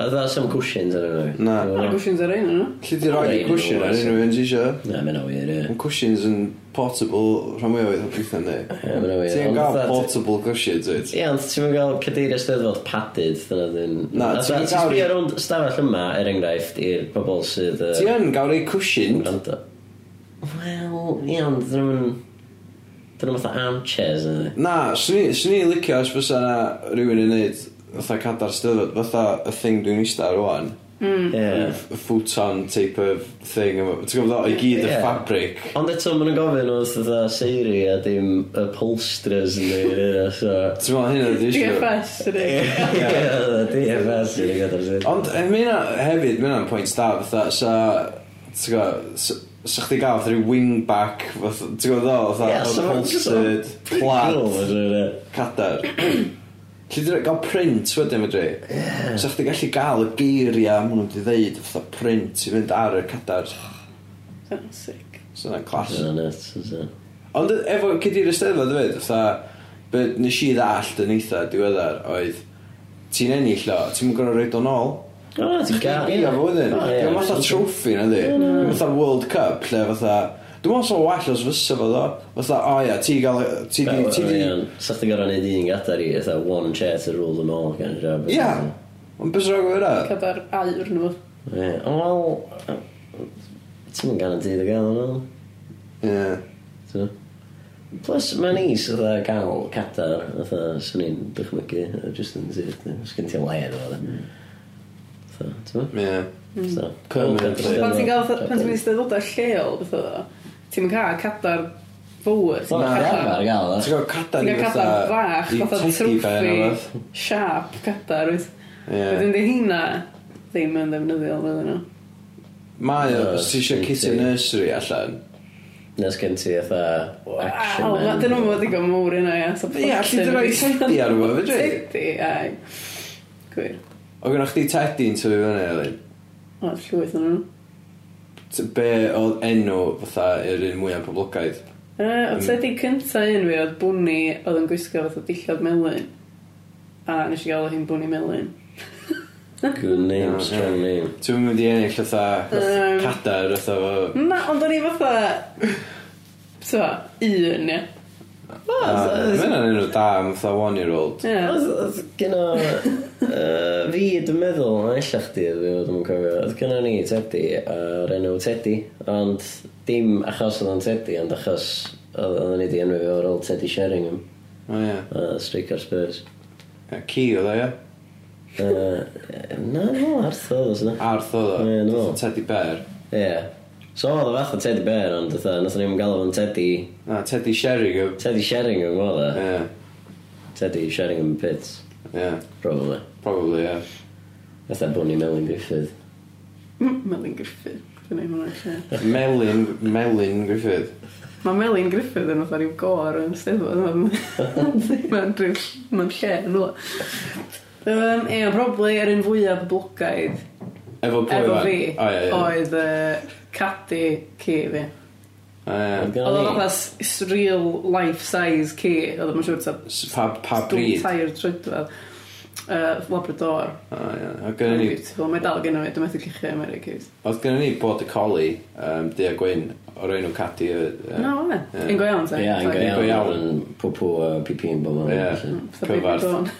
Speaker 5: Fatha some cushions yn yno.
Speaker 4: Na.
Speaker 3: Mae'n cwestiwn ar un yna.
Speaker 4: Lle di rhoi
Speaker 5: Rhaid i
Speaker 4: cushion
Speaker 5: nhw,
Speaker 4: ar
Speaker 5: oes.
Speaker 4: unrhyw un ti eisiau?
Speaker 5: Na, mae'n awyr, ie.
Speaker 4: Mae cushions yn portable rhan mwyaf o'r pethau ni.
Speaker 5: Ie, mae'n awyr.
Speaker 4: Ti'n
Speaker 5: Ond
Speaker 4: gael
Speaker 5: fatha-
Speaker 4: portable cushions, wyt?
Speaker 5: Ie, ond ti'n mynd gael cadeiriau steddfod padded, dyna dyn...
Speaker 4: Na,
Speaker 5: Fatha,
Speaker 4: ti'n
Speaker 5: ti'n
Speaker 4: gael-
Speaker 5: sbio rownd stafell yma, er enghraifft, i'r pobol sydd... yy,
Speaker 4: Ti yn gael rei cushion?
Speaker 5: Gwrando. Wel, ie, ond dyn nhw'n... Dyn nhw'n fatha armchairs yn ddi.
Speaker 4: Na, swn i- swn i'n licio os bysa na rhywun yn neud fatha cadar styfod, fatha y thing dwi'n eista ar rwan. Mm.
Speaker 5: Ie.
Speaker 4: Y futon type of thing. efo- Ti'n gwybod o, i gyd y
Speaker 5: Ie.
Speaker 4: fabric.
Speaker 5: Ond eto, maen nhw'n gofyn oedd fatha seiri a dim upholsterers yn ddi, ie, so...
Speaker 4: Ti'n meddwl hynna ydi
Speaker 3: Dwi'n
Speaker 4: issue?
Speaker 3: ffes ydy.
Speaker 5: [laughs] Ie, DFS yn y gada'r sydd.
Speaker 4: Ond eh, mae hynna hefyd, mae hynna'n pwynt da, fatha, sa, ti'n gwybod, sa- sa chdi gael fatha rhyw wingback, fatha, ti'n gwybod o,
Speaker 5: Ie,
Speaker 4: fatha,
Speaker 5: so ma'n-
Speaker 4: upholstered,
Speaker 5: Cool,
Speaker 4: plat,
Speaker 5: ydyn nhw.
Speaker 4: cadar. [clears throat] Lly dwi'n gael print wedyn fydri. Yeah. So chdi gallu gael y geiriau maen nhw wedi ddeud fatha print i fynd ar y cadar.
Speaker 3: Dwi'n sick.
Speaker 4: So yna'n clas.
Speaker 5: Dyna nuts, yn sy'n.
Speaker 4: Ond efo cydi'r ysteddfod hefyd, fatha, be nes i ddallt yn eitha diweddar oedd, ti'n ennill o, ti'n mynd gorau roed o'n ôl.
Speaker 5: O, ti'n gael.
Speaker 4: Ie, fo wedyn.
Speaker 5: O, ie.
Speaker 4: Dwi'n fatha trofi na di. Dwi'n fatha World Cup, lle fatha... Dwi'n meddwl sa'n well os fysa fo ddo. Fatha, o ia, ti gael... Ti
Speaker 5: Ie,
Speaker 4: di... Ti di...
Speaker 5: ie, ond 'sach chdi gorau neud un gadar i, fatha, one chair to rule them all, kind of job.
Speaker 4: Ia. Ond bys rhaid gwyra.
Speaker 3: Cadar aur nhw.
Speaker 5: Ie, ond wel... Ti'n mynd garantid o gael, yn ôl.
Speaker 4: Ie.
Speaker 5: So. Plus, mae'n neis oedd gael cadar, oedd swn i'n dychmygu, yy, jyst yn sydd, os gen ti'n lair oedd. So, ti'n
Speaker 4: Ie.
Speaker 5: mynd? So,
Speaker 4: Permanently.
Speaker 3: Pan ti'n gael, pan ti'n mynd i steddodau lleol, beth oedd o? Ti'n mynd cael cadar fawr. ti'n
Speaker 5: Na,
Speaker 3: cael cadar-
Speaker 5: arfer gael,
Speaker 4: Ti'n
Speaker 5: oedd.
Speaker 4: gael cadar
Speaker 3: Ti'n
Speaker 4: i
Speaker 3: cael
Speaker 4: fatha...
Speaker 3: cadar fach,
Speaker 4: i
Speaker 3: fatha
Speaker 4: teddy bear neu rywbeth.
Speaker 3: trwffi, siap cadar. wyt.
Speaker 4: Ie.
Speaker 3: Wedyn di hynna ddim yn ddefnyddiol fydden nhw.
Speaker 4: Mae o,
Speaker 5: Na,
Speaker 4: os ti eisiau
Speaker 5: sweet
Speaker 4: kitty
Speaker 5: tea.
Speaker 4: nursery allan.
Speaker 5: Nes gen ti, oedd action
Speaker 3: Wow,
Speaker 5: man.
Speaker 3: dyn nhw'n fod i gael mowr yna, ia. so
Speaker 4: Ie, allu di rhoi
Speaker 3: fucking-
Speaker 4: teddy ar yma, fydri?
Speaker 3: Teddy, ai. Gwir.
Speaker 4: O gynnwch chdi teddy'n tyfu fyny, Elin.
Speaker 3: O, llwyth yn nhw.
Speaker 4: T- Be oedd enw fatha yr un mwyaf poblogaidd?
Speaker 3: Yy, O teddy cynta un fi oedd bwni oedd yn gwisgo fatha dillad melyn. A nes i gael o hi'n bwni melyn.
Speaker 5: Good name,
Speaker 4: Ie,
Speaker 5: strong
Speaker 4: ie.
Speaker 5: name.
Speaker 4: Ti'n mynd i ennill fatha
Speaker 3: Yym.
Speaker 4: cadar fatha fo...
Speaker 3: Na, ond o'n i fatha... So, un, ia.
Speaker 4: Mae hynna'n enw da am fatha one year old.
Speaker 3: Ie.
Speaker 5: Oedd- Oedd [laughs] gyno yy, uh, fi dwi'n meddwl a ella chdi oedd fi oedd yn cofio oedd gyno ni Teddy a'r enw Teddy ond dim achos oedd o'n Teddy ond achos oedd oedd ni di enw fi o'r ôl Teddy Sheringham
Speaker 4: O ie.
Speaker 5: a Streaker [laughs] Spurs
Speaker 4: Ie, Ci oedd o ie?
Speaker 5: Yy, na no Arthur oedd yna
Speaker 4: Arth oedd o.
Speaker 5: Ie, dwi'n meddwl.
Speaker 4: Fatha Teddy Bear.
Speaker 5: ie so oedd o fath o Teddy Bear ond oedd nath ni'n galw fo'n Teddy
Speaker 4: Na, Teddy Sheringham.
Speaker 5: Teddy Sheringham oedd o
Speaker 4: Ie,
Speaker 5: Teddy Sheringham Pitts
Speaker 4: ie.
Speaker 5: probably
Speaker 4: Probably, ie.
Speaker 5: Fatha Bonnie Melyn Griffith
Speaker 3: Mm, Melyn Griffith. Dyna i hwnna lle.
Speaker 4: Melyn, Melyn Griffith.
Speaker 3: Mae Melyn Griffith yn fatha rhyw gor yn steddfod. [laughs] Mae'n rhyw... Mae'n lle yn rhywle. Um, Ie, probably yr un fwyaf blogaidd
Speaker 4: Efo pwy
Speaker 3: efo
Speaker 4: fan?
Speaker 3: fi
Speaker 4: O ie, ie.
Speaker 3: oedd uh, Caddy ci fi.
Speaker 4: O
Speaker 5: Oedd
Speaker 4: ie.
Speaker 5: gynno
Speaker 3: Oedd
Speaker 5: ni-
Speaker 3: o'n fatha s- real life size ci. Oedd o'n siŵr ta
Speaker 4: S- Pa, pa
Speaker 3: dwy
Speaker 4: bryd? O
Speaker 3: tair trydfedd. Uh, Labrador.
Speaker 4: ie. Oedd
Speaker 3: Mae'n
Speaker 4: gynnu ni...
Speaker 3: beautiful. Mae dal gen i, dwi'n methu llichio America.
Speaker 4: Oedd gynnu ni bod y coli, um, Dia Gwyn, o'r enw Cati. Ie.
Speaker 3: Na, o'n e.
Speaker 4: Ie.
Speaker 3: Un go iawn, te.
Speaker 5: Ie, yn
Speaker 3: Sorry.
Speaker 5: go iawn yn pwpw a pipi yn bod
Speaker 4: Ie.
Speaker 5: yn
Speaker 3: Fatha baby
Speaker 4: Cyfarth.
Speaker 3: dawn.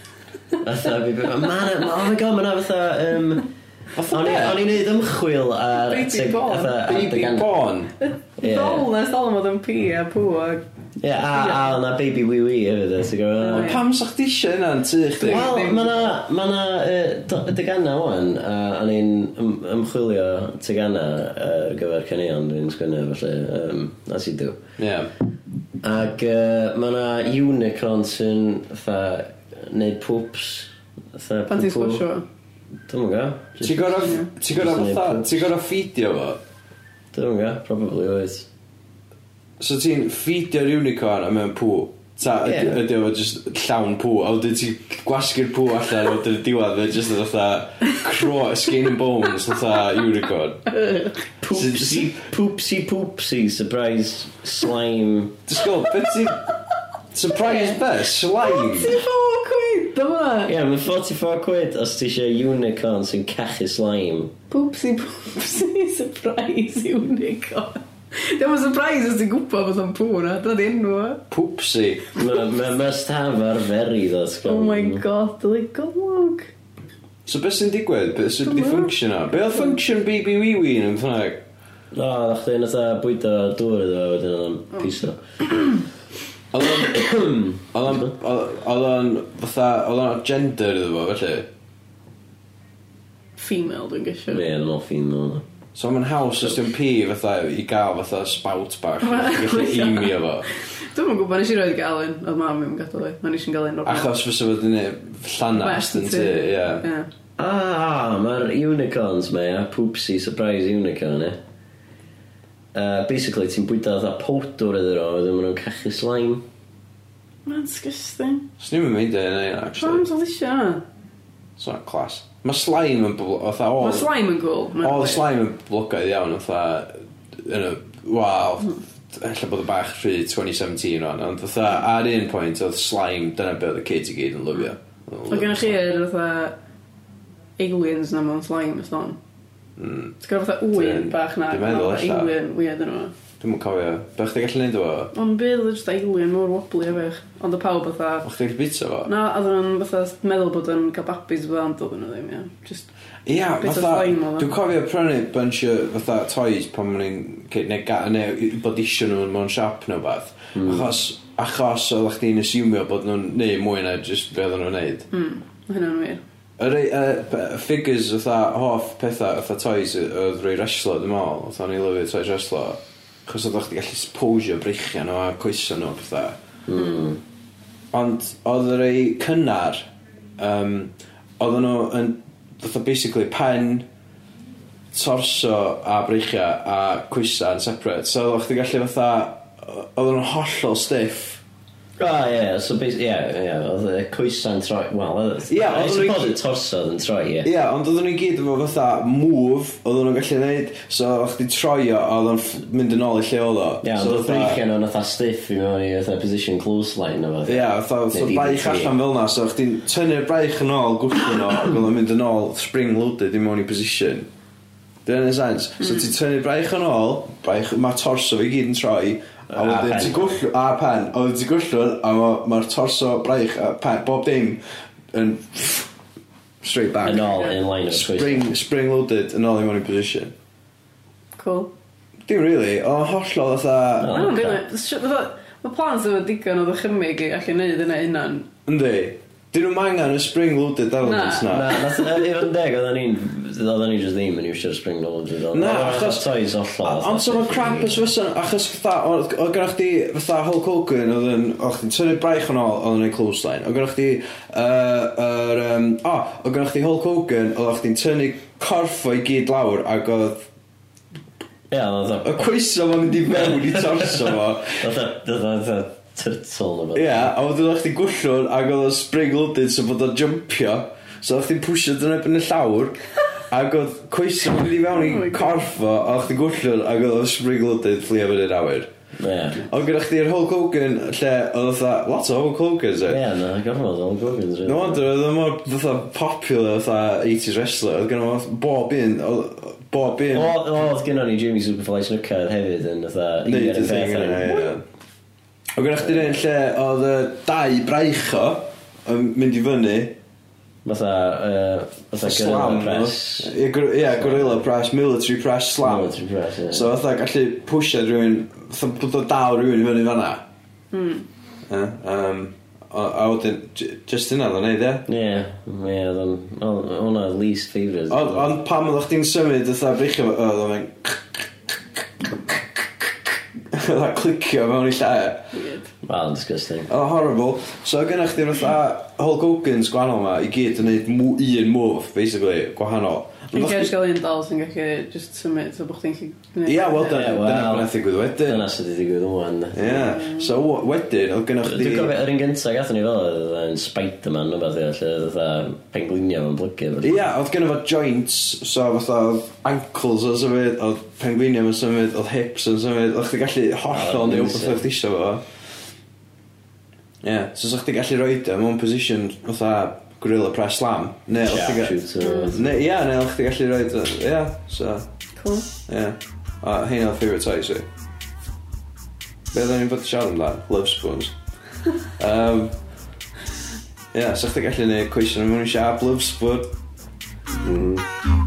Speaker 5: Fatha pipi... Man, oh my god, mae'n fatha... Um,
Speaker 4: Fatha
Speaker 5: o'n i-
Speaker 4: be?
Speaker 5: o'n i'n neud ymchwil ar...
Speaker 3: Baby
Speaker 5: teg-
Speaker 3: born.
Speaker 5: fatha
Speaker 4: Baby
Speaker 5: adeg an-
Speaker 4: Born.
Speaker 5: Ie.
Speaker 3: Dol na sal yn fod yn pi a pw a
Speaker 5: Ie, a, a na Baby Wee Wee hefyd, e, ti'n
Speaker 3: O,
Speaker 5: gwybod?
Speaker 3: ie.
Speaker 4: Pam sa'ch ti eisiau yna yn tu chdi?
Speaker 3: Wel-
Speaker 5: Wel, mae na, ma na uh, tegana o'n, a a ni'n ym- ymchwilio tegana ar gyfer canion dwi'n sgwynnu, felly, um, as you do.
Speaker 4: Ie.
Speaker 5: Ac uh, mae na unicorn sy'n fatha neud pwps.
Speaker 3: Pan ti'n sgwrsio?
Speaker 5: Dwi'n mwyn gael.
Speaker 4: Ti'n gorau ti gorau
Speaker 5: Just-
Speaker 4: fatha, ti'n gorau ffidio fo?
Speaker 5: Dwi'n mwyn gael, probably oes.
Speaker 4: So ti'n ffidio'r unicorn a mewn pŵ? Ta
Speaker 5: Ie.
Speaker 4: ydy ydy o just llawn pŵ, a wedyn ti'n gwasgu'r pŵ allan, a wedyn y diwedd, fe just yn fatha cro, skin and bones, fatha unicorn.
Speaker 5: Poopsie, poopsie, poopsie, surprise, slime.
Speaker 4: Disgwyl, beth ti'n... Surprise be? Slime?
Speaker 3: Ti'n fawr cwyd,
Speaker 5: Ie,
Speaker 3: dyma!
Speaker 5: yeah, mae 44 quid os ti eisiau unicorn sy'n cachu slime.
Speaker 3: Poopsie, poopsie, [laughs] surprise, unicorn. Dyma surprise os ti'n gwybod bod o'n pŵr, a dyna di enw o.
Speaker 4: Poopsie.
Speaker 5: Mae ma must have arferi ddo, ti'n gwbod.
Speaker 3: Oh my god, dwi'n golwg.
Speaker 4: So beth sy'n digwydd? Beth sy'n di
Speaker 3: Dyma.
Speaker 4: function o? Be o function BB Wee Wee yn ymwneud?
Speaker 5: O, no, chdi yn eitha bwydo dŵr iddo fe wedyn o'n
Speaker 3: Oh,
Speaker 5: piso.
Speaker 4: Oedd o'n... Oedd o'n... Oedd o'n... Fatha... Oedd o'n gender iddo fo, felly.
Speaker 3: Female, dwi'n
Speaker 5: Ie,
Speaker 3: gysio.
Speaker 5: yn o'n ffin o'n.
Speaker 4: So mae'n haws os ti'n pi fatha i gael fatha spout bach. Gallu eimio fo.
Speaker 3: Dwi'n yn gwybod nes i roed gael un, oedd mam i'n gadael i. Mae'n eisiau'n gael un o'r
Speaker 4: Achos fysa fod yn llanast yn ti, ie.
Speaker 5: Ah, mae'r unicorns mae, a poopsie surprise unicorn, e. Uh, basically, ti'n bwydo eitha powdwr iddo fo, wedyn maen nhw'n cachu slime.
Speaker 3: Mae'n disgusting.
Speaker 4: Os ni'n mynd i hynny, actually.
Speaker 3: Pam sy'n eisiau hwnna?
Speaker 4: It's not class. Mae slime yn... bl- Fatha
Speaker 3: Mae
Speaker 4: all...
Speaker 3: slime yn gwl.
Speaker 4: All the slime yn blogaidd iawn, fatha... Yn y... Waw. Alla bod y bach rhy 2017 o'n. Ond fatha, ar un pwynt, oedd slime, dyna be oedd y kids i gyd yn lyfio.
Speaker 3: Mae gennych chi yr fatha aliens na mewn slime ys don. Mm. Ti'n gwybod fatha wyn
Speaker 4: Hmm. Dwi'n-
Speaker 3: bach na,
Speaker 4: dwi'n meddwl
Speaker 3: fatha
Speaker 4: ella.
Speaker 3: alien weird yn yma.
Speaker 4: Dwi'n mwyn cofio. Be o'ch ti'n gallu neud o?
Speaker 3: Ond bydd oedd jyst alien mor wobbly efech. Ond y pawb fatha...
Speaker 4: O'ch ti'n gallu bita fo?
Speaker 3: Na, a ddyn nhw'n fatha meddwl bod yn cael babis fatha ond oedd nhw ddim, ia. Just...
Speaker 4: Ia,
Speaker 3: Bit o
Speaker 4: fatha...
Speaker 3: slime oedd o.
Speaker 4: Dwi'n cofio prynu bunch o fatha toys pan ma'n i'n... kid- Neu, ga- neu i- bod isio nhw mewn siop neu beth. Achos... Achos oedd chdi'n asiwmio bod nhw'n neud mwy na jyst be oedden nhw'n neud.
Speaker 3: Mm, ma' hynna'n wir.
Speaker 4: Yr ei- yy, p- figures fatha hoff pethau fatha toys y- oedd rhoi wrestler dwi'n meddwl fatha o'n i lyfio toys wrestler chos oedd o'ch gallu posio breichio nhw a coesio nhw a pethau ond oedd yr ei cynnar um, oedd nhw yn fatha basically pen torso a breichio a coesau yn separate so oedd o'ch gallu fatha oedd nhw'n hollol stiff
Speaker 5: Ah, ie, yeah, so basically, ie, yeah, ie, yeah, oedd y coesa'n troi, wel, oedd...
Speaker 4: Ie,
Speaker 5: I
Speaker 4: oedd nhw i
Speaker 5: suppose y
Speaker 4: gyd-
Speaker 5: torso oedd yn troi, ie.
Speaker 4: Ie, yeah, ond oedden nhw'n gyd efo fatha move, oedden nhw'n gallu neud, so o'ch di troio, a oedden nhw'n ff- mynd yn ôl i lle oedd o.
Speaker 5: Ie, ond
Speaker 4: so
Speaker 5: oedd breichiau nhw'n fatha stiff i mewn i fatha position clothesline o fath.
Speaker 4: Ie, fatha so
Speaker 5: Neu
Speaker 4: braich
Speaker 5: DDT.
Speaker 4: allan fel na, so o'ch di'n tynnu'r braich yn ôl, gwthio nhw, ac oedd o'n mynd yn ôl, spring-loaded i mewn i position. Dyna yn y sens. So ti'n tynnu'r braich yn ôl, braich, mae torso fi gyd yn troi, a
Speaker 5: A
Speaker 4: wedyn
Speaker 5: pen.
Speaker 4: ti'n gwllw, a pen, a wedyn ti'n gwllw, a ma- ma'r torso, braich, a pen, bob dim, yn straight back.
Speaker 5: Yn ôl, in line o'r coes.
Speaker 4: Spring, spring-loaded yn ôl i mewn i position.
Speaker 3: Cool.
Speaker 4: Dim really, o hollol fatha...
Speaker 5: O,
Speaker 3: Oh,
Speaker 5: ocê.
Speaker 3: okay. Mae plans efo digon o ddychymyg i allu neud yna unan.
Speaker 4: Yndi. Dyn nhw'n angen y spring-loaded elements
Speaker 3: Na.
Speaker 4: na.
Speaker 5: Na, nath yn i'r deg, oedden ni'n, oedden ni'n just ddim yn iwsio'r spring roll.
Speaker 4: Na, achos-
Speaker 5: achos... Toys ollol.
Speaker 4: Ond so mae'n crap os fysa, achos fatha, o- o gynnwch chi fatha Hulk Hogan, oedd yn, o'ch chi'n tynnu braich yn ôl, oedd yn ei clothesline, o gynnwch chi, uh, er, um, o, o gynnwch chi Hulk Hogan, oedd o'ch chi'n tynnu corff o'i gyd lawr, ac oedd
Speaker 5: Ie, oedd
Speaker 4: y coesau fo'n mynd i mewn i torso fo.
Speaker 5: fatha turtle neu
Speaker 4: Ie,
Speaker 5: beth.
Speaker 4: yeah, a wedyn o'ch ti'n gwllwn ac oedd o'n spring-loaded so bod o'n jumpio so o'ch ti'n pwysio dyn ebyn y llawr ac oedd coesau yn mynd i fewn
Speaker 3: Oh
Speaker 4: i
Speaker 3: my God.
Speaker 4: corff o a o'ch ti'n gwllwn ac oedd o'n spring-loaded fflio fyny'n awyr
Speaker 5: Ie.
Speaker 4: Ond gyda chdi'r Hulk Hogan lle oedd fatha lot o Hulk Hogan's e
Speaker 5: Ie, na, gorfod o'n gofyn. rili.
Speaker 4: No wonder oedd o'n mor fatha popular fatha 80s wrestler oedd gen o'n bob un oedd- bob
Speaker 5: O,
Speaker 4: un
Speaker 5: o, oedd gynnon ni Jimmy Superfly Snooker hefyd yn fatha...
Speaker 4: Neud
Speaker 5: un
Speaker 4: y thing
Speaker 5: peth
Speaker 4: yna,
Speaker 5: yn-
Speaker 4: ie. Ond gyda chdi'r un lle oedd y dau braich o yn mynd i fyny
Speaker 5: Fatha, uh, fatha
Speaker 4: Slam,
Speaker 5: gorilla press.
Speaker 4: Ie, gor- ie, gorilla press, military press, slam.
Speaker 5: Military press, ie.
Speaker 4: So fatha gallu pwysio rhywun, fatha bod o dal rhywun i fyny fanna. Ie, yym, A a wedyn, j- jyst hynna ddo'n neud e?
Speaker 5: Ie, ie, oedd o'n... oedd- Hwnna oedd least favourite.
Speaker 4: Ond ond pan oeddech chdi'n symud fatha brichio fo, oedd o'n mynd... [laughs] Oedd o'n clicio mewn i lle.
Speaker 3: Weird.
Speaker 5: Wel, disgusting.
Speaker 4: Oedd o'n horrible. So oedd gennych chdi fatha Hulk Hogan's gwahanol ma i gyd yn neud mw- un move, basically, gwahanol. Ond
Speaker 3: Dwi'n
Speaker 4: oeddech
Speaker 3: gael
Speaker 4: chdi-
Speaker 3: gael un dal sy'n gallu just symud so bod chdi'n gallu...
Speaker 4: Ie, wel, dyna
Speaker 5: Ie, wel.
Speaker 4: dyna beth ddigwydd wedyn.
Speaker 5: Dyna sydd wedi digwydd ŵan. de.
Speaker 4: Ie, so w- wedyn, oedd gennych
Speaker 5: Dwi'n
Speaker 4: chdi...
Speaker 5: cofio, yr un gyntaf gathon ni fel oedd yn Spider-Man o beth, lle oedd oedd penglunio fo'n blygu. felly.
Speaker 4: Ia, oedd gen fo joints, so fatha oedd ankles yn symud, oedd pengliniau yn symud, oedd hips yn symud, oedd chdi gallu
Speaker 5: Oh,
Speaker 4: hollol neu wbeth
Speaker 5: amazing.
Speaker 4: oedd ddisio fo. Ie, so sa'ch chdi gallu roed e mewn position fatha gorilla press slam. Ne, oedd chdi gallu...
Speaker 5: Sharpshooter.
Speaker 4: Ne, ia, ne, oedd chdi gallu roed... Ia, so,
Speaker 3: Cool.
Speaker 4: ia. A hyn oedd favourite toys fi. Be oedden ni'n bod i siarad amdan? Love spoons. um, ia, sa'ch chdi gallu neud coesio mewn i siarad love spoon.
Speaker 5: Mm.